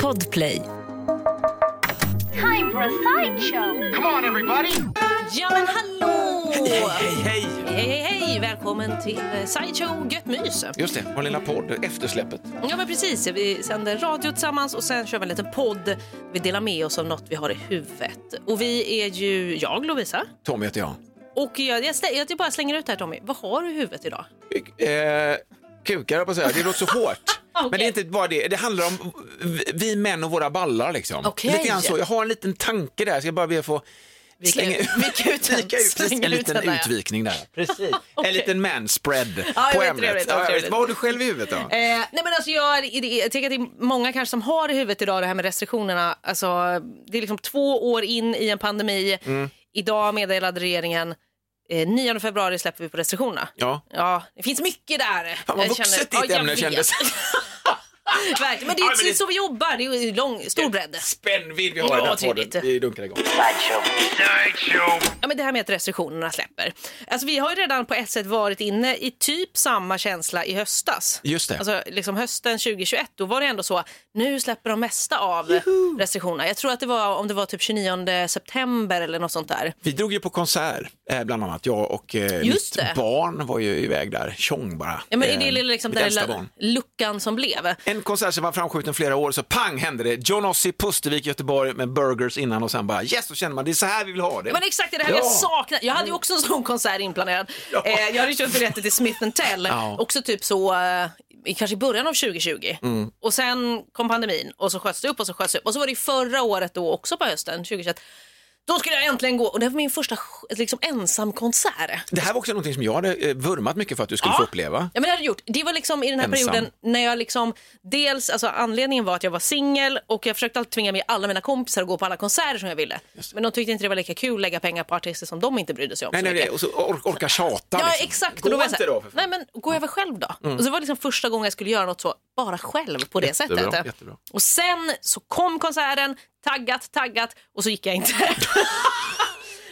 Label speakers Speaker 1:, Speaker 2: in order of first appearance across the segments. Speaker 1: Podplay.
Speaker 2: Time for a sideshow.
Speaker 3: Come on, everybody!
Speaker 1: Ja men hallå!
Speaker 3: Hej, hej!
Speaker 1: Hej hej hej! Välkommen till eh, Sideshow Gött Mys.
Speaker 3: Just det, vår lilla podd, Eftersläppet.
Speaker 1: Ja men precis, vi sänder radio tillsammans och sen kör vi en liten podd. Vi delar med oss av något vi har i huvudet. Och vi är ju jag Lovisa.
Speaker 3: Tommy heter jag.
Speaker 1: Och jag, jag, stä- jag bara slänger ut det här Tommy. Vad har du i huvudet idag?
Speaker 3: Eh, kukar höll jag på att säga, det låter så hårt.
Speaker 1: Okej.
Speaker 3: Men det är inte bara det, det handlar om vi män och våra ballar liksom.
Speaker 1: Okej.
Speaker 3: Lite grann så, jag har en liten tanke där, så jag bara ber att få
Speaker 1: Vika ut- vika ut den.
Speaker 3: Vika ut, precis,
Speaker 1: Slänga
Speaker 3: en
Speaker 1: ut
Speaker 3: liten
Speaker 1: den där, ja.
Speaker 3: utvikning där. Precis. En liten manspread
Speaker 1: Ja, det
Speaker 3: på
Speaker 1: var
Speaker 3: ämnet.
Speaker 1: trevligt, det var
Speaker 3: Ja, jag vet.
Speaker 1: trevligt.
Speaker 3: Vad har du själv i huvudet då?
Speaker 1: Eh, nej men alltså jag, är- det är- jag tänker att det är många kanske som har i huvudet idag det här med restriktionerna. Alltså, det är liksom två år in i en pandemi.
Speaker 3: Mm.
Speaker 1: Idag meddelade regeringen eh, 9 februari släpper vi på restriktionerna.
Speaker 3: Ja.
Speaker 1: Ja, det finns mycket där.
Speaker 3: Fan, vad
Speaker 1: Jag
Speaker 3: vuxet ditt
Speaker 1: ja, jag
Speaker 3: ämne
Speaker 1: vet.
Speaker 3: kändes.
Speaker 1: Verkligen, men det är
Speaker 3: Ja, men
Speaker 1: precis
Speaker 3: det-
Speaker 1: så vi jobbar. Det är ju lång, stor bredd.
Speaker 3: Spännvidd vi har
Speaker 1: Ja,
Speaker 3: i den här podden.
Speaker 1: trevligt.
Speaker 3: Vi dunkar igång.
Speaker 1: Ja, men det här med att restriktionerna släpper. Alltså, vi har ju redan på ett sätt varit inne i typ samma känsla i höstas.
Speaker 3: Just det.
Speaker 1: Alltså, liksom hösten 2021, då var det ändå så, nu släpper de mesta av restriktionerna. Jag tror att det var om det var typ 29 september eller något sånt där.
Speaker 3: Vi drog ju på konsert, eh, bland annat. Jag och eh,
Speaker 1: Just
Speaker 3: mitt
Speaker 1: det.
Speaker 3: barn var ju iväg där. Tjong bara.
Speaker 1: Ja, men är
Speaker 3: Eh,
Speaker 1: det liksom
Speaker 3: mitt
Speaker 1: den
Speaker 3: äldsta
Speaker 1: lilla
Speaker 3: barn.
Speaker 1: luckan som blev?
Speaker 3: En konsert som var framskjuten flera år, så pang hände det. John Ossie, Pustervik, Göteborg med burgers innan och sen bara yes, så känner man det är så här vi vill ha det.
Speaker 1: Men exakt det är det här
Speaker 3: Ja. Mm.
Speaker 1: jag saknar. Jag hade ju också en sån konsert inplanerad.
Speaker 3: Ja.
Speaker 1: Eh, jag hade köpt biljetter till Smith Tell,
Speaker 3: Ja.
Speaker 1: också typ så eh, i- kanske i början av 2020.
Speaker 3: Mm.
Speaker 1: Och sen kom pandemin och så sköts det upp och så sköts det upp. Och så var det ju förra året då också på hösten 2021. Då skulle jag äntligen gå och det var min första sj- liksom, ensam konsert.
Speaker 3: Det här var också någonting som jag hade eh, vurmat mycket för att du skulle få uppleva.
Speaker 1: Ja, men det hade jag gjort. Det var liksom i den här
Speaker 3: Ensam.
Speaker 1: perioden när jag liksom, dels, alltså anledningen var att jag var singel och jag försökte alltid tvinga med alla mina kompisar att gå på alla konserter som jag ville. Men de tyckte inte det var lika kul att lägga pengar på artister som de inte brydde sig om
Speaker 3: Nej,
Speaker 1: så
Speaker 3: nej,
Speaker 1: mycket.
Speaker 3: nej. Och så or- orka tjata.
Speaker 1: Ja
Speaker 3: liksom.
Speaker 1: exakt.
Speaker 3: Gå
Speaker 1: Och då var jag
Speaker 3: inte
Speaker 1: så här,
Speaker 3: då. För fan. Mm.
Speaker 1: Nej men går jag väl själv då? Och så var det liksom första gången jag skulle göra något så bara själv på det
Speaker 3: Jättebra,
Speaker 1: sättet.
Speaker 3: jättebra.
Speaker 1: Och sen så kom konserten, taggat, taggat och så gick jag inte.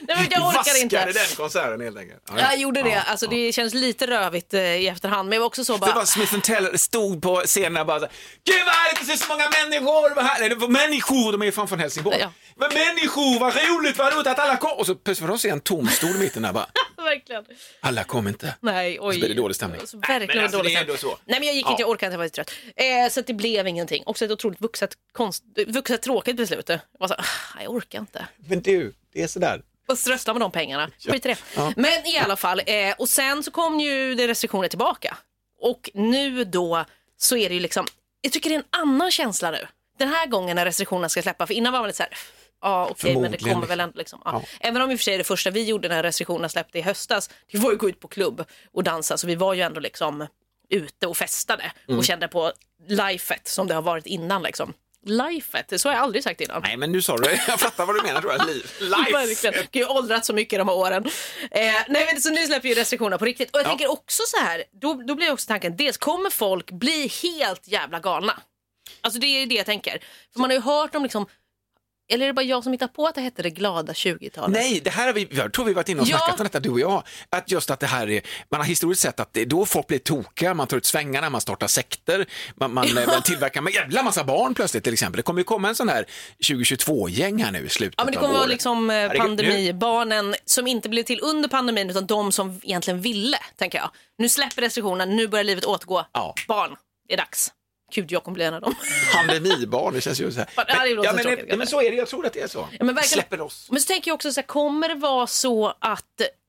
Speaker 1: Nej men jag orkar inte.
Speaker 3: Vaskade den konserten helt enkelt. Ja,
Speaker 1: Jag gjorde det.
Speaker 3: Ja,
Speaker 1: alltså
Speaker 3: ja.
Speaker 1: det känns lite rövigt eh, i efterhand men jag var också så bara.
Speaker 3: Det var Smith Tell stod på scenen och bara så här, Gud vad härligt att se så många människor! Vad härligt. Det var människor, de är ju fan från Helsingborg.
Speaker 1: Ja.
Speaker 3: Vad människor, vad roligt, vad roligt att alla kom! Och så plötsligt var de se en tom stol mitt i den där bara,
Speaker 1: Verkligen.
Speaker 3: alla kom inte.
Speaker 1: Nej oj.
Speaker 3: Så blir Alltså, det dålig stämning.
Speaker 1: Så verkligen
Speaker 3: men alltså,
Speaker 1: dålig
Speaker 3: det är ändå
Speaker 1: stämning.
Speaker 3: så.
Speaker 1: Nej men jag gick
Speaker 3: Ja.
Speaker 1: inte, jag orkade inte, jag var lite trött. Eh, så att det blev ingenting. Också ett otroligt vuxet, konst, vuxet tråkigt beslut. Jag var så här, "Ah, jag orkar inte.
Speaker 3: Men du, det är sådär.
Speaker 1: Och så röstar med de pengarna. Skit i det. Men i alla fall, eh, och sen så kom ju det restriktioner tillbaka. Och nu då så är det ju liksom, jag tycker det är en annan känsla nu. Den här gången när restriktionerna ska släppa, för innan var man lite så här, ja okej men det
Speaker 3: Förmodligen,
Speaker 1: kommer väl
Speaker 3: liksom.
Speaker 1: ändå liksom. Ja. Även om i och för sig det första vi gjorde när restriktionerna släppte i höstas, det var ju att gå ut på klubb och dansa, så vi var ju ändå liksom ute och festade och kände på lifet som det har varit innan liksom. Lifet, så har jag aldrig sagt innan.
Speaker 3: Nej, men nu sa du det. Jag fattar vad du menar tror jag. Liv. Life!
Speaker 1: Verkligen. Gud, jag har åldrats så mycket de här åren. Eh, nej, men så nu släpper ju restriktionerna på riktigt. Och jag
Speaker 3: Ja.
Speaker 1: tänker också så här, då, då blir också tanken, dels kommer folk bli helt jävla galna? Alltså det är ju det jag tänker. För man har ju hört om liksom, eller är det bara jag som hittar på att det hette det glada 20-talet?
Speaker 3: Nej, det här har vi, jag tror vi varit inne och
Speaker 1: Ja.
Speaker 3: snackat om detta, du och jag. Att just att det här är, man har historiskt sett att det är då folk blir tokiga, man tar ut svängarna, man startar sekter, man, man, man tillverkar en jävla massa barn plötsligt till exempel. Det kommer ju komma en sån här 2022-gäng här nu i slutet
Speaker 1: Ja, men det
Speaker 3: av
Speaker 1: kommer vara
Speaker 3: året.
Speaker 1: liksom eh,
Speaker 3: Herregud, nu-
Speaker 1: pandemibarnen som inte blev till under pandemin utan de som egentligen ville, tänker jag. Nu släpper restriktionerna, nu börjar livet återgå.
Speaker 3: Ja.
Speaker 1: Barn, det är dags. Gud, jag kommer bli en av dem.
Speaker 3: Pandemibarn, det känns ju så här.
Speaker 1: Ja, det låter
Speaker 3: ja, men,
Speaker 1: tråkigt,
Speaker 3: men så är det, jag tror att det är så.
Speaker 1: Ja, men verkligen.
Speaker 3: Släpper loss.
Speaker 1: Men så tänker jag också så här, kommer det vara så att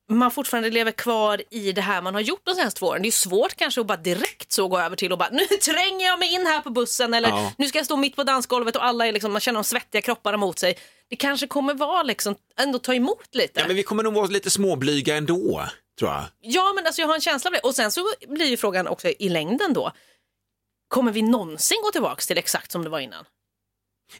Speaker 1: man fortfarande lever kvar i det här man har gjort de senaste två åren? Det är ju svårt kanske att bara direkt så gå över till och bara nu tränger jag mig in här på bussen eller
Speaker 3: Ja.
Speaker 1: nu ska jag stå mitt på dansgolvet och alla är liksom, man känner de svettiga kropparna mot sig. Det kanske kommer vara liksom, ändå ta emot lite.
Speaker 3: Ja, men vi kommer nog vara lite småblyga ändå, tror jag.
Speaker 1: Ja, men alltså jag har en känsla av det. Och sen så blir ju frågan också i längden då. Kommer vi någonsin gå tillbaka till exakt som det var innan?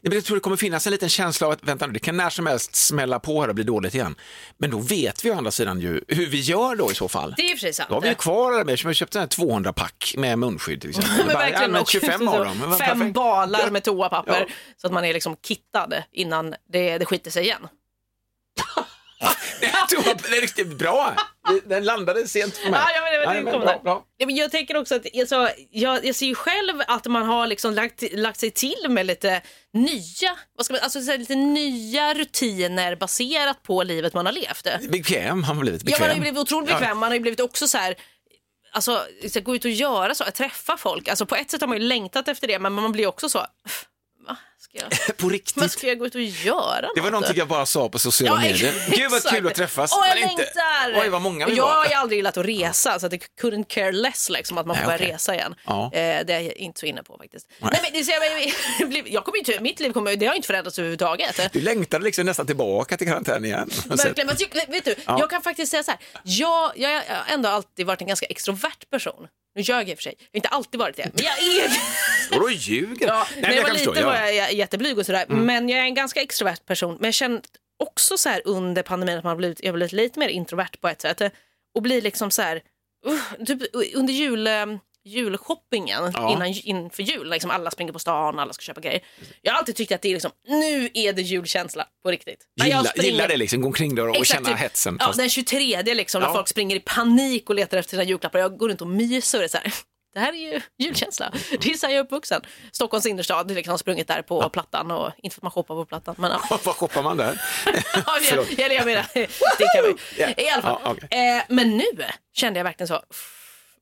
Speaker 3: Nej, men jag tror det kommer finnas en liten känsla av att vänta nu, det kan när som helst smälla på här och bli dåligt igen. Men då vet vi å andra sidan ju hur vi gör då i så fall.
Speaker 1: Det är i och för sig sant.
Speaker 3: Då har vi ju kvar alla med, som har köpt en 200-pack med munskydd till exempel.
Speaker 1: Men
Speaker 3: Bara,
Speaker 1: verkligen
Speaker 3: använt
Speaker 1: också.
Speaker 3: 25 av dem. Men vad
Speaker 1: Fem
Speaker 3: perfekt.
Speaker 1: balar med toapapper
Speaker 3: Ja.
Speaker 1: så att man är liksom kittad innan det, det skiter sig igen.
Speaker 3: Det är riktigt bra. Den landade sent för mig.
Speaker 1: Ja, ja, men, men, den kom
Speaker 3: bra,
Speaker 1: där.
Speaker 3: bra.
Speaker 1: Ja, men jag tänker också att alltså, jag, jag ser ju själv att man har liksom lagt, lagt sig till med lite nya, vad ska man, alltså, så här, lite nya rutiner baserat på livet man har levt.
Speaker 3: Bekväm har man blivit.
Speaker 1: Ja,
Speaker 3: Bekväm.
Speaker 1: man har ju blivit otroligt
Speaker 3: Ja.
Speaker 1: bekväm, man har ju blivit också så här Alltså, så här, gå ut och göra så, att träffa folk. Alltså, på ett sätt har man ju längtat efter det, men man blir också så... Vad ska jag,
Speaker 3: På riktigt.
Speaker 1: vad ska jag gå ut och göra?
Speaker 3: Det var
Speaker 1: något?"
Speaker 3: någonting jag bara sa på sociala
Speaker 1: Ja,
Speaker 3: medier. Gud vad
Speaker 1: exakt.
Speaker 3: kul att träffas.
Speaker 1: Åh, jag
Speaker 3: men inte-
Speaker 1: längtar!
Speaker 3: Oj, vad många vi
Speaker 1: jag
Speaker 3: var.
Speaker 1: har ju aldrig gillat att resa, så att det couldn't care less liksom, att man får
Speaker 3: Nej,
Speaker 1: börja
Speaker 3: okej.
Speaker 1: resa igen.
Speaker 3: Ja.
Speaker 1: Eh, det är jag inte så inne på faktiskt.
Speaker 3: Nej.
Speaker 1: Nej. men det ser jag, jag, blev- jag kommer ju, till- mitt liv kommer, ju- det har ju inte förändrats överhuvudtaget.
Speaker 3: Du längtade liksom nästan tillbaka till karantän igen.
Speaker 1: Verkligen, men tyck- vet du,
Speaker 3: Ja.
Speaker 1: jag kan faktiskt säga så här. Jag, jag har ändå alltid varit en ganska extrovert person. Nu ljög jag i och för sig, jag har inte alltid varit det. Men jag är...
Speaker 3: Står och ljuger.
Speaker 1: Ja,
Speaker 3: Nej,
Speaker 1: när
Speaker 3: men
Speaker 1: jag
Speaker 3: jag
Speaker 1: var
Speaker 3: kan
Speaker 1: liten
Speaker 3: förstå.
Speaker 1: var
Speaker 3: ja. Mm.
Speaker 1: jag jätteblyg och sådär. Men jag är en ganska extrovert person. Men jag känner också så här under pandemin att man har blivit, jag har blivit lite mer introvert på ett sätt. Och blir liksom så här, uh, typ under jul, eh, julshoppingen
Speaker 3: Ja.
Speaker 1: innan, inför jul, liksom alla springer på stan, alla ska köpa grejer. Jag har alltid tyckt att det är liksom, nu är det julkänsla på riktigt. När jag
Speaker 3: Gilla,
Speaker 1: springer-
Speaker 3: gilla det liksom, gå omkring där och
Speaker 1: Exakt,
Speaker 3: känna
Speaker 1: typ.
Speaker 3: hetsen.
Speaker 1: Ja,
Speaker 3: fast-
Speaker 1: den 23 liksom, när
Speaker 3: Ja.
Speaker 1: folk springer i panik och letar efter sina julklappar. Jag går runt och myser och är så här. Det här är ju julkänsla. Det är så här jag är uppvuxen. Stockholms innerstad, liksom har sprungit där på Plattan och inte för att man shoppar på Plattan. Men, ja.
Speaker 3: Vad shoppar man där?
Speaker 1: Ja, jag,
Speaker 3: Förlåt.
Speaker 1: jag, jag menar, det kan vi.
Speaker 3: Yeah.
Speaker 1: I alla fall.
Speaker 3: Ja, okej.
Speaker 1: eh, men nu kände jag verkligen så, uff,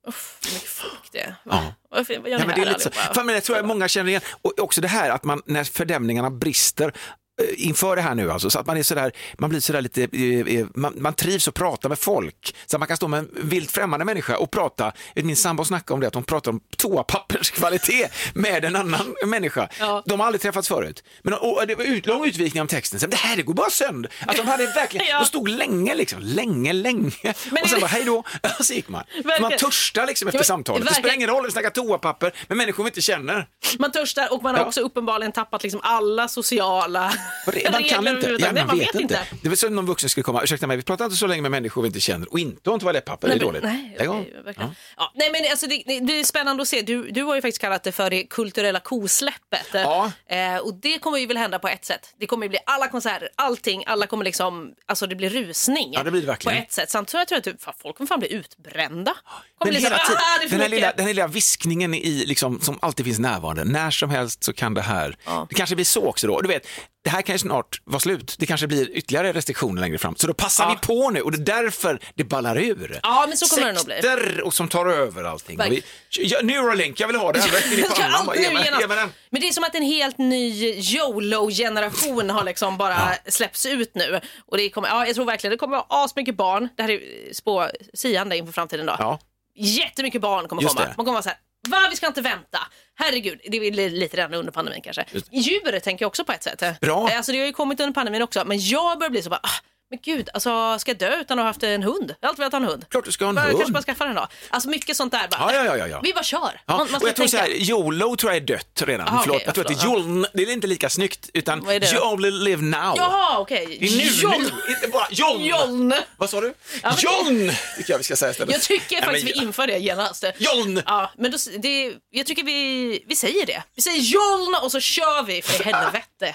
Speaker 1: uff, vad mycket folk det är. Va?
Speaker 3: Ja.
Speaker 1: Varför, vad gör
Speaker 3: Ja,
Speaker 1: ni
Speaker 3: men
Speaker 1: här
Speaker 3: det är lite så.
Speaker 1: allihopa?
Speaker 3: Fan, men jag tror att många känner igen, och också det här att man när fördämningarna brister eh, inför det här nu alltså, så att man är sådär, man blir sådär lite, eh, eh, man, man trivs att prata med folk. Så att man kan stå med en vilt främmande människa och prata, min sambo snackade om det, att hon pratar om toapappers kvalitet med en annan människa.
Speaker 1: Ja.
Speaker 3: De har aldrig träffats förut. Men och, det var ut, lång utvikning om texten, så, det här det går bara sönder. Att de hade verkligen,
Speaker 1: Ja.
Speaker 3: de stod länge liksom, länge, länge. och sen
Speaker 1: det-
Speaker 3: bara hej då, och så gick man. För Man
Speaker 1: Verkligen.
Speaker 3: törstar liksom efter
Speaker 1: Ja, men-
Speaker 3: samtalet. Det spelar
Speaker 1: verkligen.
Speaker 3: ingen roll om vi snackar toapapper med människor vi inte känner.
Speaker 1: Man törstar och man har
Speaker 3: Ja.
Speaker 1: också uppenbarligen tappat liksom alla sociala
Speaker 3: Man kan inte.
Speaker 1: överhuvudtaget.
Speaker 3: Ja,
Speaker 1: Nej,
Speaker 3: man vet inte. Det var som om någon vuxen skulle komma, ursäkta mig, vi pratar inte så länge med människor vi inte känner och inte om toalettpapper, det är
Speaker 1: Nej,
Speaker 3: dåligt.
Speaker 1: men- Nej,
Speaker 3: Lägg av.
Speaker 1: okej, verkligen. Ja, nej men alltså det, det- det är spännande att se. Du, du har ju faktiskt kallat det för det kulturella kosläppet.
Speaker 3: Ja.
Speaker 1: Eh, och det kommer ju väl hända på ett sätt. Det kommer ju bli alla konserter, allting, alla kommer liksom, alltså det blir rusning.
Speaker 3: Ja, det blir det verkligen.
Speaker 1: På ett sätt. Samtidigt tror jag att du, fan, folk kommer fan bli utbrända. Kommer
Speaker 3: Men
Speaker 1: bli så
Speaker 3: hela
Speaker 1: här,
Speaker 3: tiden,
Speaker 1: "Ah, det är för
Speaker 3: den, här
Speaker 1: mycket."
Speaker 3: lilla, den här lilla viskningen i, liksom, som alltid finns närvarande, när som helst så kan det här, det kanske blir så också då. Du vet, det här kan ju snart vara slut, det kanske blir ytterligare restriktioner längre fram, så då passar
Speaker 1: Ja.
Speaker 3: vi på nu och det är därför det ballar ur.
Speaker 1: Ja, men så kommer det nog bli.
Speaker 3: Sekter och som tar över allting. Och vi, ja, Neuralink, jag vill ha det här rätt in i
Speaker 1: Jag ska
Speaker 3: pannan. Bara,
Speaker 1: alltid
Speaker 3: ge mig-
Speaker 1: igenom.
Speaker 3: ge mig den.
Speaker 1: Men det är som att en helt ny YOLO-generation har liksom bara släppts ut nu. Och det kommer, ja, jag tror verkligen det kommer vara asmycket barn. Det här är spå, siande inför framtiden då.
Speaker 3: Ja.
Speaker 1: Jättemycket barn kommer
Speaker 3: Just
Speaker 1: komma.
Speaker 3: det.
Speaker 1: Man kommer vara så här, va vi ska inte vänta. Herregud, det är li- lite redan under pandemin kanske. Djur tänker jag också på ett sätt.
Speaker 3: Bra.
Speaker 1: Eh, Alltså det har ju kommit under pandemin också, men jag börjar bli så bara, ah, men gud, alltså ska jag dö utan att ha haft en hund? Jag har alltid velat ha en hund.
Speaker 3: Klart du ska ha en
Speaker 1: jag
Speaker 3: hund.
Speaker 1: kanske bara skaffar en dag. Alltså mycket sånt där bara.
Speaker 3: Ja, ja, ja, ja, ja.
Speaker 1: Vi bara kör. Man,
Speaker 3: Ja,
Speaker 1: man
Speaker 3: och
Speaker 1: ska
Speaker 3: jag tror så
Speaker 1: tänka.
Speaker 3: här, YOLO tror jag är dött redan.
Speaker 1: Ah,
Speaker 3: förlåt,
Speaker 1: okej,
Speaker 3: jag tror att det är
Speaker 1: förlåt,
Speaker 3: YOLO, det är inte lika snyggt utan
Speaker 1: Vad är det då?
Speaker 3: You only live now.
Speaker 1: Jaha, okej.
Speaker 3: Det är nu,
Speaker 1: John.
Speaker 3: nu, inte bara John.
Speaker 1: John.
Speaker 3: Vad sa du?
Speaker 1: Ja, men-
Speaker 3: John, tycker jag vi ska säga istället.
Speaker 1: Jag tycker
Speaker 3: Nej,
Speaker 1: faktiskt
Speaker 3: men-
Speaker 1: vi inför det genast.
Speaker 3: John!
Speaker 1: Ja, men då, s- det, jag tycker vi, vi säger det. Vi säger John och så kör vi för helvete.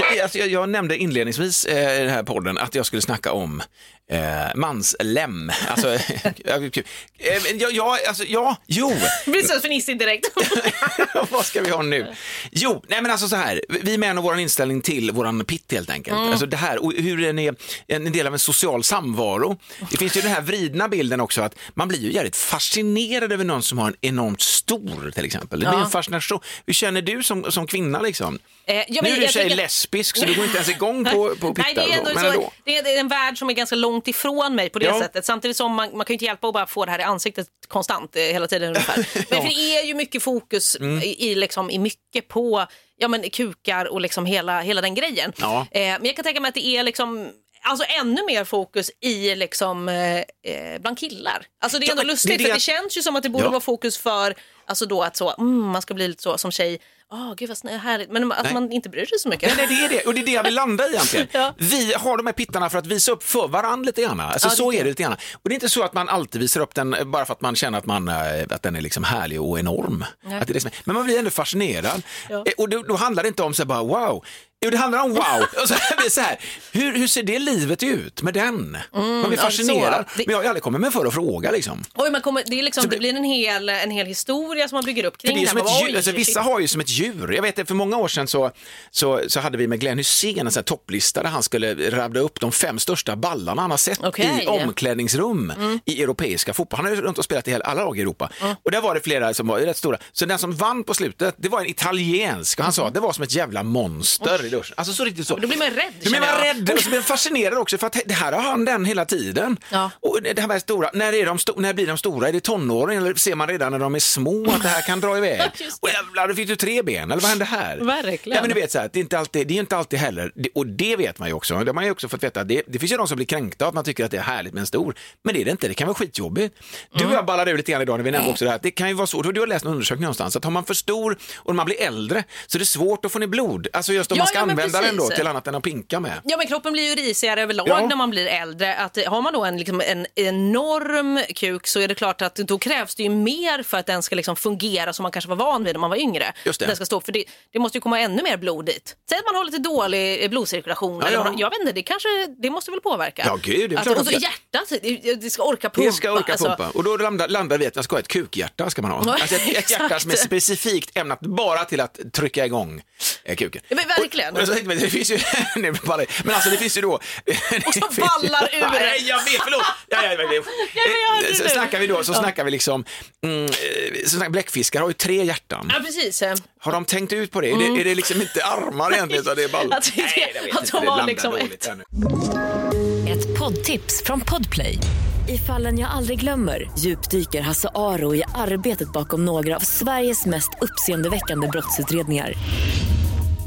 Speaker 3: Nej, Alltså, jag, jag nämnde inledningsvis eh, i den här podden att jag skulle snacka om eh, manslem. Alltså, ja, kul. eh, men jag, jag, alltså, ja, jo.
Speaker 1: Det blir så fnissigt direkt.
Speaker 3: Vad ska vi ha nu? Jo, nej men alltså så här, vi menar vår inställning till våran pitt helt enkelt.
Speaker 1: Mm.
Speaker 3: Alltså det här, och hur den är en en del av en social samvaro. Det finns ju den här vridna bilden också att man blir ju jävligt fascinerad över någon som har en enormt stor till exempel. Det blir
Speaker 1: Ja.
Speaker 3: en fascination. Hur känner du som, som kvinna liksom?
Speaker 1: Eh, ja,
Speaker 3: nu
Speaker 1: men
Speaker 3: är du
Speaker 1: jag
Speaker 3: tjej
Speaker 1: tänker-
Speaker 3: lesbisk så du går inte ens igång på, på pittar.
Speaker 1: Nej, det är,
Speaker 3: och så,
Speaker 1: ändå
Speaker 3: men
Speaker 1: så, det är det är en värld som är ganska långt ifrån mig på det
Speaker 3: Ja.
Speaker 1: sättet. Samtidigt som man, man kan ju inte hjälpa att bara få det här i ansiktet konstant eh, hela tiden ungefär. Men för det är ju mycket fokus
Speaker 3: Mm.
Speaker 1: i, i, liksom, i mycket på ja, men, kukar och liksom hela, hela den grejen.
Speaker 3: Ja.
Speaker 1: Eh, men jag kan tänka mig att det är liksom alltså ännu mer fokus i liksom, eh, eh, bland killar. Alltså det är
Speaker 3: Ja,
Speaker 1: ändå
Speaker 3: men
Speaker 1: lustigt
Speaker 3: det är
Speaker 1: för det
Speaker 3: att-
Speaker 1: känns ju som att det borde
Speaker 3: Ja.
Speaker 1: vara fokus för alltså då att så, mm, man ska bli lite så som tjej, åh gud vad snö, härligt, men att
Speaker 3: Nej.
Speaker 1: man inte bryr sig så mycket.
Speaker 3: Nej, det är det. Och det är det jag vill landa i egentligen.
Speaker 1: Ja.
Speaker 3: Vi har de här pittarna för att visa upp för varandra lite grann. Alltså,
Speaker 1: Ja, det
Speaker 3: så
Speaker 1: är
Speaker 3: är det lite grann. Och det är inte så att man alltid visar upp den eh, bara för att man känner att, man, eh, att den är liksom härlig och enorm. Att det är det som är. Men man blir ändå fascinerad.
Speaker 1: Ja.
Speaker 3: Eh, Och då, då handlar det inte om så här bara wow. Jo, det handlar om wow. Och så här, det är så här, hur, hur ser det livet ut med den? man blir
Speaker 1: Mm, ja, så.
Speaker 3: fascinerad.
Speaker 1: Det-
Speaker 3: Men jag har ju aldrig kommit med för att fråga liksom.
Speaker 1: Oj, man kommer, det, är liksom, det blir en hel, en hel historia som man bygger upp
Speaker 3: För
Speaker 1: kring
Speaker 3: det är
Speaker 1: den.
Speaker 3: som ett
Speaker 1: Bara,
Speaker 3: djur,
Speaker 1: oj,
Speaker 3: alltså, vissa
Speaker 1: shit.
Speaker 3: har ju som ett djur. Jag vet att för många år sedan så, så, så hade vi med Glenn Hysén en sån här topplista där han skulle rabbla upp de fem största ballarna han har sett
Speaker 1: Okej. Mm.
Speaker 3: i omklädningsrum i europeiska fotboll. Han har ju runt och spelat i hela- alla lag i Europa. Och där var det flera som var rätt stora. Så den som vann på slutet, det var en italiensk och han sa att det var som ett jävla monster i duschen. Alltså så riktigt så.
Speaker 1: Mm. Då blir man rädd,
Speaker 3: Då blir man
Speaker 1: känner jag.
Speaker 3: rädd och så blir man fascinerad också för att det här har han den hela tiden.
Speaker 1: Ja.
Speaker 3: Och det här med stora, när, är de sto- när blir de stora? Är det tonåren eller ser man redan när de är små att det här kan dra iväg?
Speaker 1: Just det.
Speaker 3: och jävlar, då fick du tre ben, eller vad hände här?
Speaker 1: Verkligen.
Speaker 3: Ja, men du vet, så här, det, är inte alltid, det är inte alltid heller, det, och det vet man ju också, det har man ju också fått veta, det, det finns ju de som blir kränkta av att man tycker att det är härligt med en stor, men det är det inte, det kan vara skitjobbigt. Du
Speaker 1: Mm.
Speaker 3: och jag ballade ur lite grann idag när vi nämnde också det här, att det kan ju vara svårt, och du har läst en undersökning någonstans, att har man för stor och man blir äldre så är det svårt att få ner blod, alltså just om
Speaker 1: Ja,
Speaker 3: man ska
Speaker 1: ja, men
Speaker 3: använda den då
Speaker 1: precis.
Speaker 3: till annat än att pinka med.
Speaker 1: Ja, men kroppen blir ju risigare överlag
Speaker 3: Ja.
Speaker 1: när man blir äldre. Att, eh, har man då en, liksom, en enorm kuk så är det klart att då krävs det ju mer för att den ska liksom fungera som man kanske var van vid när man var yngre.
Speaker 3: Just det.
Speaker 1: Den ska stå, för det, det måste ju komma ännu mer blod dit. Säg att man har lite dålig eh, blodcirkulation.
Speaker 3: Ja,
Speaker 1: eller
Speaker 3: ja.
Speaker 1: man- Jag vet inte, det, kanske, det måste väl påverka?
Speaker 3: Ja, gud, det är
Speaker 1: att,
Speaker 3: klart
Speaker 1: Och så
Speaker 3: att det-
Speaker 1: hjärtat, det, det ska orka pumpa.
Speaker 3: Det ska orka
Speaker 1: alltså.
Speaker 3: pumpa. Och då landar, landar vi att man ska ha ett kukhjärta. Ska man ha.
Speaker 1: Ja,
Speaker 3: Alltså ett, ett hjärta
Speaker 1: exakt.
Speaker 3: som är specifikt ämnat bara till att trycka igång eh, kuken.
Speaker 1: Ja, men verkligen.
Speaker 3: Och, och så tänkte jag, det finns ju, nej, men, bara, men alltså det finns ju då... Och
Speaker 1: så ballar ur.
Speaker 3: Nej, jag vet, förlåt. Ja, ja, ja, ja.
Speaker 1: jag hörde
Speaker 3: Eh, så
Speaker 1: det.
Speaker 3: snackar vi då, så snackar vi liksom, mm, eh, så snackar, bläckfiskar har ju tre hjärtan.
Speaker 1: Ja, precis. eh.
Speaker 3: Har de tänkt ut på det? Är det, är det liksom inte armar egentligen, utan det är ballar?
Speaker 1: Jag tänkte
Speaker 3: jag vet
Speaker 1: att
Speaker 3: inte.
Speaker 1: de
Speaker 3: Det
Speaker 1: har
Speaker 3: landar
Speaker 1: liksom
Speaker 3: dåligt
Speaker 1: ett-
Speaker 3: här nu.
Speaker 2: Ett poddtips från Podplay. I fallen jag aldrig glömmer djupdyker Hasse Aro i arbetet bakom några av Sveriges mest uppseendeväckande brottsutredningar.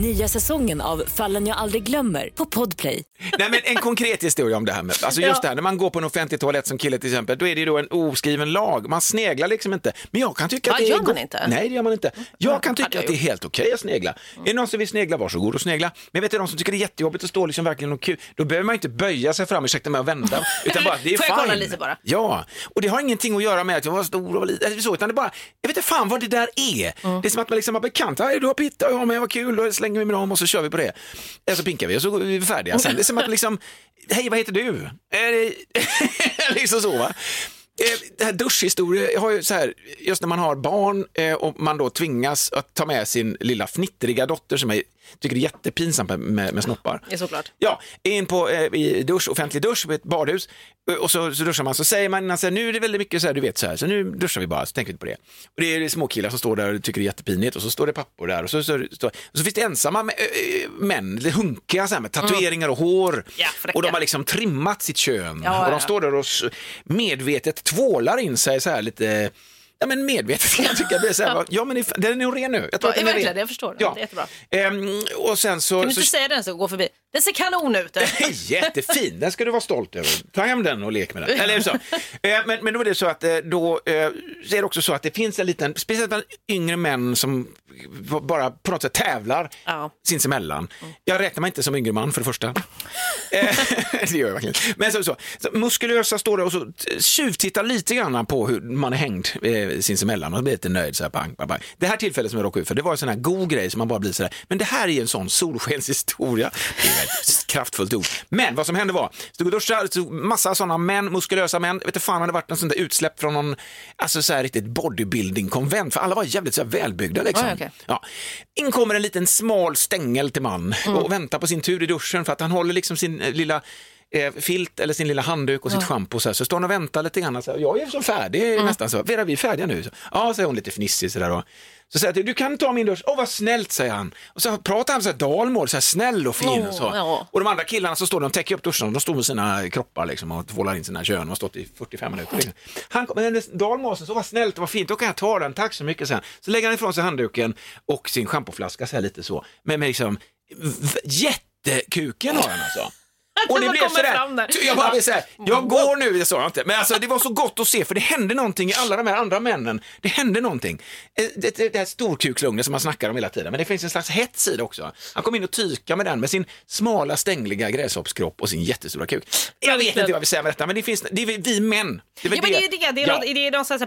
Speaker 2: Nya säsongen av Fallen jag aldrig glömmer på Podplay.
Speaker 3: Nej men en konkret historia om det här med, alltså just
Speaker 1: Ja.
Speaker 3: det här när man går på en offentlig toalett som kille till exempel, då är det ju då en oskriven lag, man sneglar liksom inte. Men jag kan tycka
Speaker 1: Ja,
Speaker 3: att det
Speaker 1: gör
Speaker 3: är
Speaker 1: man
Speaker 3: gott.
Speaker 1: inte? Mm.
Speaker 3: Nej det gör man inte. Jag kan
Speaker 1: hade
Speaker 3: tycka
Speaker 1: jag
Speaker 3: att det är
Speaker 1: gjort.
Speaker 3: helt okej att snegla. Är det någon som vill snegla, varsågod och snegla. Men jag vet du de som tycker det är jättejobbigt att stå liksom verkligen och kul, då behöver man ju inte böja sig fram, ursäkta mig, och vända. Utan bara, det är
Speaker 1: Får
Speaker 3: fine.
Speaker 1: jag kolla lite bara?
Speaker 3: Ja, och det har ingenting att göra med att jag var stor och var liten, eller så, utan det är bara, jag vet inte fan vad det där är.
Speaker 1: Mm.
Speaker 3: Det är som att man liksom har bekant, "Hej, du har pitta, och jag har med, vad kul, då slänger vi med dem och så kör vi på det. Eller så pinkar vi och så är vi färdiga sen. Det är som att liksom, hej vad heter du? Är det- liksom så va. Eh, Det här duschhistorier, jag har ju så här, just när man har barn eh, och man då tvingas att ta med sin lilla fnittriga dotter som jag tycker det är jättepinsamt med, med, med snoppar.
Speaker 1: Ja, såklart.
Speaker 3: Ja, in på eh, i dusch, offentlig dusch på ett badhus eh, och så, så duschar man så säger man innan så här, nu är det väldigt mycket så här, du vet så här, så nu duschar vi bara, så tänker vi inte på det. Och det är små killar som står där och tycker det är jättepinigt och så står det pappor där och så, så, så, och så finns det ensamma mä- eh, eh, män, lite hunkiga så här med tatueringar och hår
Speaker 1: Ja, fräcka.
Speaker 3: och de har liksom trimmat sitt kön
Speaker 1: Ja,
Speaker 3: och
Speaker 1: ja.
Speaker 3: de står där och s- medvetet tvålar in sig så här lite Ja men medvetet kan jag tycka, det är så här, ja men det- den är nog ren nu. Jag tror
Speaker 1: Ja,
Speaker 3: att den är
Speaker 1: verkligen,
Speaker 3: ren.
Speaker 1: jag förstår.
Speaker 3: Ja.
Speaker 1: Det är jättebra.
Speaker 3: Ehm, och sen så...
Speaker 1: Kan du inte
Speaker 3: så
Speaker 1: säga den så går förbi? Den ser kanon ut. eh.
Speaker 3: den är jättefin, den ska du vara stolt över. Ta hem den och lek med den. Eller så. Eh, Men, men då är det så att eh, då eh, så är det också så att det finns en liten, speciellt bland yngre män som bara på något sätt tävlar
Speaker 1: Ja.
Speaker 3: sinsemellan. Jag räknar mig inte som yngre man för det första. Eh, det gör jag verkligen. Men så, så, så muskulösa står där och så t- tjuvtittar lite grann på hur man är hängd eh, sinsemellan och blir lite nöjd så här pang, pang, pang. Det här tillfället som jag råkade ut för, det var en sån här god grej som man bara blir så där, men det här är ju en sån solskenshistoria. Det är ett kraftfullt ord. Men vad som hände var, stod och duschade, stod massa sådana män, muskulösa män, vet du fan hade varit någon sån där utsläpp från någon, alltså så här riktigt bodybuilding-konvent, för alla var jävligt så här välbyggda liksom.
Speaker 1: Oj, okej.
Speaker 3: Ja. In kommer en liten smal stängel till man och väntar på sin tur i duschen för att han håller liksom sin eh, lilla eh, filt eller sin lilla handduk och sitt schampo så här. Så står han och väntar lite grann. Så här, jag är ju så färdig nästan så. Vera, vi är färdiga nu. Så, ja, säger hon lite fnissig sådär. och Så säger jag till du kan ta min lunch, åh vad snällt säger han. Och så pratar han så här dalmål, så här snäll och fin och så.
Speaker 1: Åh, ja.
Speaker 3: Och de andra killarna så står de, täcker upp duschen, de står med sina kroppar liksom och tvålar in sina kön och har stått i 45 minuter. Liksom. Han kom, men dalmåsen, så vad snällt och vad fint, då kan jag ta den, tack så mycket sen. Så lägger han ifrån sig handduken och sin schampoflaska så här lite så. Men, men liksom, v- jättekuken har han alltså. Och det
Speaker 1: bara
Speaker 3: blev
Speaker 1: kommer fram
Speaker 3: sådär,
Speaker 1: där.
Speaker 3: jag bara vill säga,
Speaker 1: Mm.
Speaker 3: jag går nu, det sa jag inte, men alltså det var så gott att se för det hände någonting i alla de här andra männen. Det hände någonting. Eh, Det, det, det här storkuklugnet som man snackar om hela tiden, men det finns en slags hets i det också. Han kom in och tyka med den med sin smala stängliga gräshoppskropp och sin jättestora kuk. Jag vet inte vad jag vill säga med detta, men det finns, det är vi- vi män. Det är väl
Speaker 1: Ja, men det är det, det är, något, det är någon sån här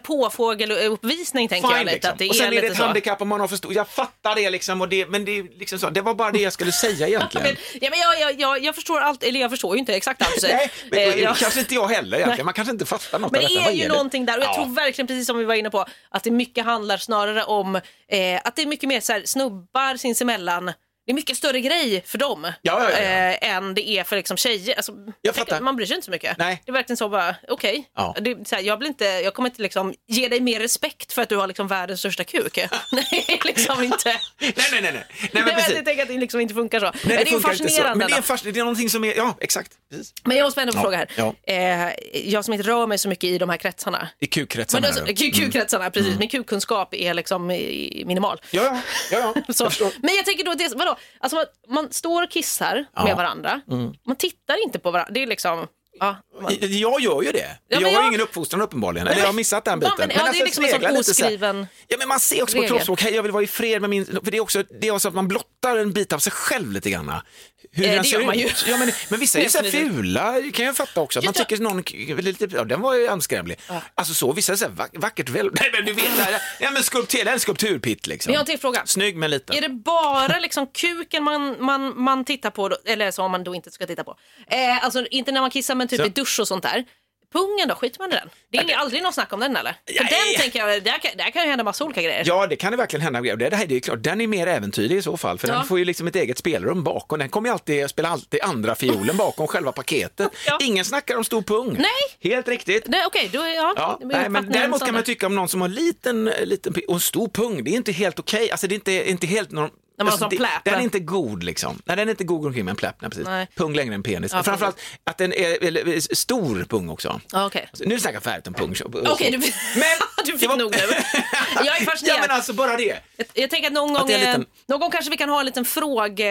Speaker 1: påfågeluppvisning tänker
Speaker 3: Fine,
Speaker 1: jag lite.
Speaker 3: liksom.
Speaker 1: Att det
Speaker 3: och sen är det
Speaker 1: lite
Speaker 3: ett
Speaker 1: så.
Speaker 3: handikapp om man har för stor, jag fattar det liksom, och det, men det, är liksom så, det var bara det jag skulle säga egentligen.
Speaker 1: Men, ja, men jag, jag, jag, jag förstår allt, eller jag förstår ju inte exakt allt du säger.
Speaker 3: Nej, men,
Speaker 1: Eh, jag-
Speaker 3: kanske inte jag heller egentligen. Man kanske inte fattar något
Speaker 1: Men
Speaker 3: av
Speaker 1: det
Speaker 3: detta.
Speaker 1: är
Speaker 3: Vad
Speaker 1: ju
Speaker 3: det?
Speaker 1: någonting där och jag
Speaker 3: Ja.
Speaker 1: tror verkligen precis som vi var inne på att det mycket handlar snarare om eh, att det är mycket mer så här, snubbar sinsemellan. Det är mycket större grej för dem
Speaker 3: ja, ja.
Speaker 1: Eh, än det är för liksom, tjejer. Alltså, tänk-
Speaker 3: fattar.
Speaker 1: man bryr sig inte så mycket.
Speaker 3: Nej.
Speaker 1: Det är verkligen så bara, okej.
Speaker 3: Ja.
Speaker 1: Det är så här, Jag, blir inte- jag kommer inte liksom, ge dig mer respekt för att du har liksom, världens största kuk. Nej, liksom inte.
Speaker 3: Nej, nej, nej. nej. nej, men
Speaker 1: Nej,
Speaker 3: precis.
Speaker 1: men jag tänker att det liksom inte funkar så.
Speaker 3: Nej,
Speaker 1: Men det, är ju
Speaker 3: funkar inte så.
Speaker 1: fascinerande.
Speaker 3: Men det är,
Speaker 1: ändå.
Speaker 3: fas... det är någonting som är, ja exakt. Precis.
Speaker 1: Men jag måste ändå få
Speaker 3: Ja,
Speaker 1: fråga här.
Speaker 3: ja.
Speaker 1: Eh, jag som inte rör mig så mycket i de här kretsarna.
Speaker 3: I
Speaker 1: Men
Speaker 3: kukretsarna.
Speaker 1: alltså, ku-
Speaker 3: Mm.
Speaker 1: kukretsarna, precis. Min kukkunskap är liksom eh, minimal.
Speaker 3: Ja, ja, ja, ja.
Speaker 1: Så.
Speaker 3: Jag förstår.
Speaker 1: men jag tänker då, det, vadå? Alltså, man, man står och kissar med varandra.
Speaker 3: Mm.
Speaker 1: Man tittar inte på varandra. Det är liksom... Ja, man,
Speaker 3: Jag gör ju det.
Speaker 1: men
Speaker 3: jag har
Speaker 1: jag-
Speaker 3: ju ingen uppfostran uppenbarligen. Eller jag har missat den biten. alltså,
Speaker 1: Ja, men- ja, det är liksom en sån
Speaker 3: speglar lite så här-
Speaker 1: oskriven
Speaker 3: Ja, men man ser också på
Speaker 1: regel.
Speaker 3: kroppsspråk, hej jag vill vara i fred med min... För det är också, det är också att man blottar en bit av sig själv lite grann. Hur
Speaker 1: Eh,
Speaker 3: den
Speaker 1: det
Speaker 3: ser
Speaker 1: gör man
Speaker 3: ut.
Speaker 1: ju.
Speaker 3: Ja, men, men vissa är ju så här
Speaker 1: Definitivt.
Speaker 3: fula, det kan jag fatta också. Att man
Speaker 1: Just det.
Speaker 3: tycker någon, k- lite, ja, den var ju anskrämlig. Alltså så, vissa är så här vack- vackert väl... Nej men du vet, det här, ja, men skulptur, det är en skulpturpitt liksom.
Speaker 1: Men jag har en till fråga.
Speaker 3: Snygg men liten.
Speaker 1: Är det bara liksom kuken man, man, man tittar på, då, eller som man då inte ska titta på? Eh, alltså inte när man kissar men typ
Speaker 3: Så.
Speaker 1: i dusch och sånt där. Pungen då, skiter man i den? Det är aldrig något snack om den eller? För
Speaker 3: Ja,
Speaker 1: den
Speaker 3: ja.
Speaker 1: tänker jag, där kan, där kan ju hända massa olika grejer.
Speaker 3: Ja, det kan det verkligen hända. Det, det här det är ju klart, den är mer äventyrlig i så fall, för
Speaker 1: Ja.
Speaker 3: den får ju liksom ett eget spelrum bakom. Den kommer ju alltid spela alltid andra fiolen bakom själva paketet.
Speaker 1: Ja.
Speaker 3: Ingen snackar om stor pung.
Speaker 1: Nej.
Speaker 3: Helt riktigt.
Speaker 1: Nej, Okej, då är ja,
Speaker 3: Ja,
Speaker 1: det blir
Speaker 3: nej, men
Speaker 1: uppfattningen
Speaker 3: däremot
Speaker 1: sån
Speaker 3: kan
Speaker 1: där.
Speaker 3: man tycka om någon som har liten, liten pi- och en stor pung, det är inte helt okej. Alltså det är inte, inte helt norm...
Speaker 1: man har
Speaker 3: alltså,
Speaker 1: sån
Speaker 3: det,
Speaker 1: pläp.
Speaker 3: den är inte god liksom. Nej, den är inte god omkring med en pläp, nej, precis.
Speaker 1: Nej.
Speaker 3: Pung längre än penis.
Speaker 1: Ja,
Speaker 3: Framförallt att den är eller, stor pung också.
Speaker 1: Ja, okej.
Speaker 3: Alltså, nu snackar jag färdigt om pung. Okej,
Speaker 1: Okej, du, du fick
Speaker 3: det var-
Speaker 1: nog nu. Jag är fascinerad.
Speaker 3: Ja, men alltså bara det.
Speaker 1: jag, jag tänker att någon
Speaker 3: att
Speaker 1: gång,
Speaker 3: det är en
Speaker 1: eh,
Speaker 3: liten-
Speaker 1: någon gång kanske vi kan ha en liten, fråge,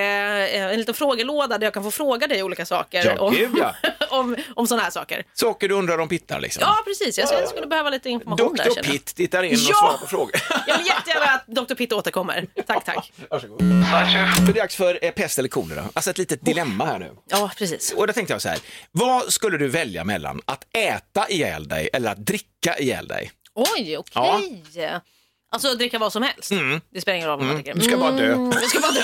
Speaker 1: eh, en liten frågelåda där jag kan få fråga dig olika saker
Speaker 3: Ja,
Speaker 1: om,
Speaker 3: gud, ja.
Speaker 1: om, om sådana här saker.
Speaker 3: Saker du undrar om pittar liksom.
Speaker 1: Ja, precis. Jag skulle- jag skulle behöva lite information där.
Speaker 3: Dr
Speaker 1: känner jag.
Speaker 3: Pitt tittar in och
Speaker 1: Ja!
Speaker 3: svarar på frågor.
Speaker 1: Jag vill jättegärna att Dr. Pitt återkommer. Tack, tack.
Speaker 3: Varsågod. Det är dags för eh, pest eller kolera. Alltså ett litet dilemma här nu.
Speaker 1: Ja, precis.
Speaker 3: Och då tänkte jag så här, vad skulle du välja mellan att äta ihjäl dig eller att dricka ihjäl dig?
Speaker 1: Oj, okej. Alltså dricka vad som helst.
Speaker 3: Mm.
Speaker 1: Det spelar ingen roll vad man dricker.
Speaker 3: Du ska bara dö.
Speaker 1: Mm, jag ska bara dö.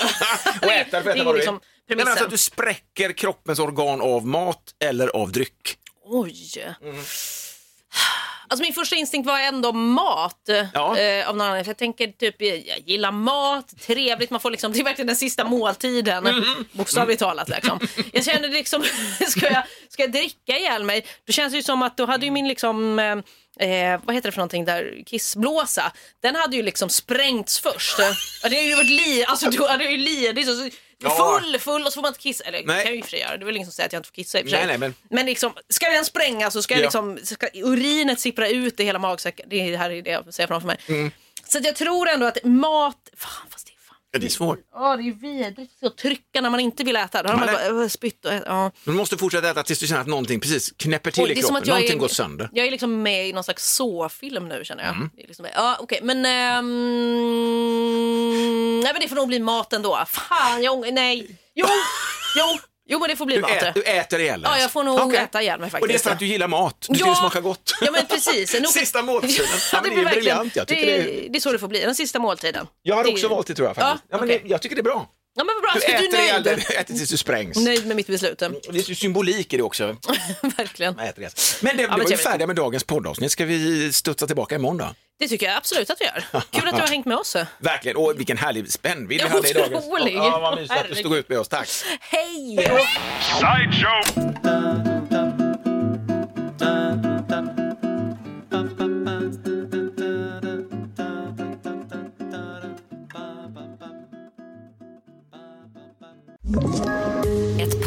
Speaker 3: Och äta,
Speaker 1: det
Speaker 3: för
Speaker 1: är
Speaker 3: äta
Speaker 1: ju
Speaker 3: vad du
Speaker 1: liksom
Speaker 3: vill. Nej, men alltså
Speaker 1: premissen.
Speaker 3: att du spräcker kroppens organ av mat eller av dryck.
Speaker 1: Oj.
Speaker 3: Mm.
Speaker 1: Alltså min första instinkt var ändå mat.
Speaker 3: Ja.
Speaker 1: Eh, av någon anledning. För jag tänker typ, eh, jag gillar mat, trevligt, man får liksom, det är verkligen den sista måltiden.
Speaker 3: Mm.
Speaker 1: Bokstavligt talat liksom. Jag känner liksom, ska jag, ska jag dricka ihjäl mig? Då känns det ju som att då hade ju min liksom, eh, eh, vad heter det för någonting där, kissblåsa. Den hade ju liksom sprängts först. Ja, det hade ju varit li, alltså du hade ju lidit. så-
Speaker 3: Ja.
Speaker 1: Full, full och så får man inte kissa. Eller det
Speaker 3: Nej.
Speaker 1: kan jag ju i och för sig göra. Det är väl ingen som säger att jag inte får kissa i och för sig.
Speaker 3: Nej, nej, men-
Speaker 1: Men liksom, ska den sprängas så ska, jag
Speaker 3: Ja.
Speaker 1: liksom, ska urinet sippra ut i hela magsäcken. Det är- det här är det jag ser framför mig.
Speaker 3: Mm.
Speaker 1: Så att jag tror ändå att mat... Fan, fast det är fan...
Speaker 3: Ja, det är svårt.
Speaker 1: Ja, det är ju vidrigt att trycka när man inte vill äta. Då har man
Speaker 3: Men
Speaker 1: bara äh, spytt och ätit. Ja.
Speaker 3: Du måste fortsätta äta tills du känner att någonting precis knäpper till
Speaker 1: Oj,
Speaker 3: i
Speaker 1: det är som
Speaker 3: kroppen.
Speaker 1: att jag
Speaker 3: Någonting
Speaker 1: är-
Speaker 3: går sönder. Mm.
Speaker 1: Jag är liksom med i någon slags så-film nu känner jag. Det är liksom, ja, okej, men... ehm, nej, men det får nog bli mat ändå. Fan, jag ång- Nej. Jo, jo, jo, men det får bli
Speaker 3: Du,
Speaker 1: mat.
Speaker 3: ät, du äter ihjäl dig. alltså.
Speaker 1: Ja, jag får nog
Speaker 3: Okej.
Speaker 1: äta ihjäl mig faktiskt.
Speaker 3: Och det är för att du gillar mat. Du tycker det smakar gott.
Speaker 1: Ja men precis. En-
Speaker 3: Sista måltiden.
Speaker 1: Ja,
Speaker 3: Ja,
Speaker 1: det,
Speaker 3: men
Speaker 1: blir
Speaker 3: det är
Speaker 1: verkligen-
Speaker 3: briljant. Jag tycker
Speaker 1: det,
Speaker 3: det
Speaker 1: är, det är så det får bli, den sista måltiden.
Speaker 3: Jag har
Speaker 1: Det är-
Speaker 3: också valt det tror jag faktiskt.
Speaker 1: Ja,
Speaker 3: Ja, men
Speaker 1: okej.
Speaker 3: det, jag tycker det är bra.
Speaker 1: Ja men vad bra,
Speaker 3: Du
Speaker 1: så du
Speaker 3: äter
Speaker 1: är
Speaker 3: ihjäl dig,
Speaker 1: nöjd.
Speaker 3: du äter tills du sprängs.
Speaker 1: Nöjd med mitt beslut. eh.
Speaker 3: Och Det är ju symbolik i det också.
Speaker 1: Verkligen.
Speaker 3: Man äter ihjäl sig. Men det, det
Speaker 1: men
Speaker 3: var ju
Speaker 1: trevligt.
Speaker 3: färdiga med dagens poddavsnitt. Ska vi studsa tillbaka imorgon då?
Speaker 1: Det tycker jag absolut att vi gör. Kul att du har hängt med oss.
Speaker 3: Verkligen, och vilken härlig spännvidd
Speaker 1: Ja,
Speaker 3: vi hade i dagens
Speaker 1: otrolig.
Speaker 3: Ja, vad mysigt att du stod ut med oss. Tack.
Speaker 1: Hej!
Speaker 4: Sideshow!
Speaker 2: Ett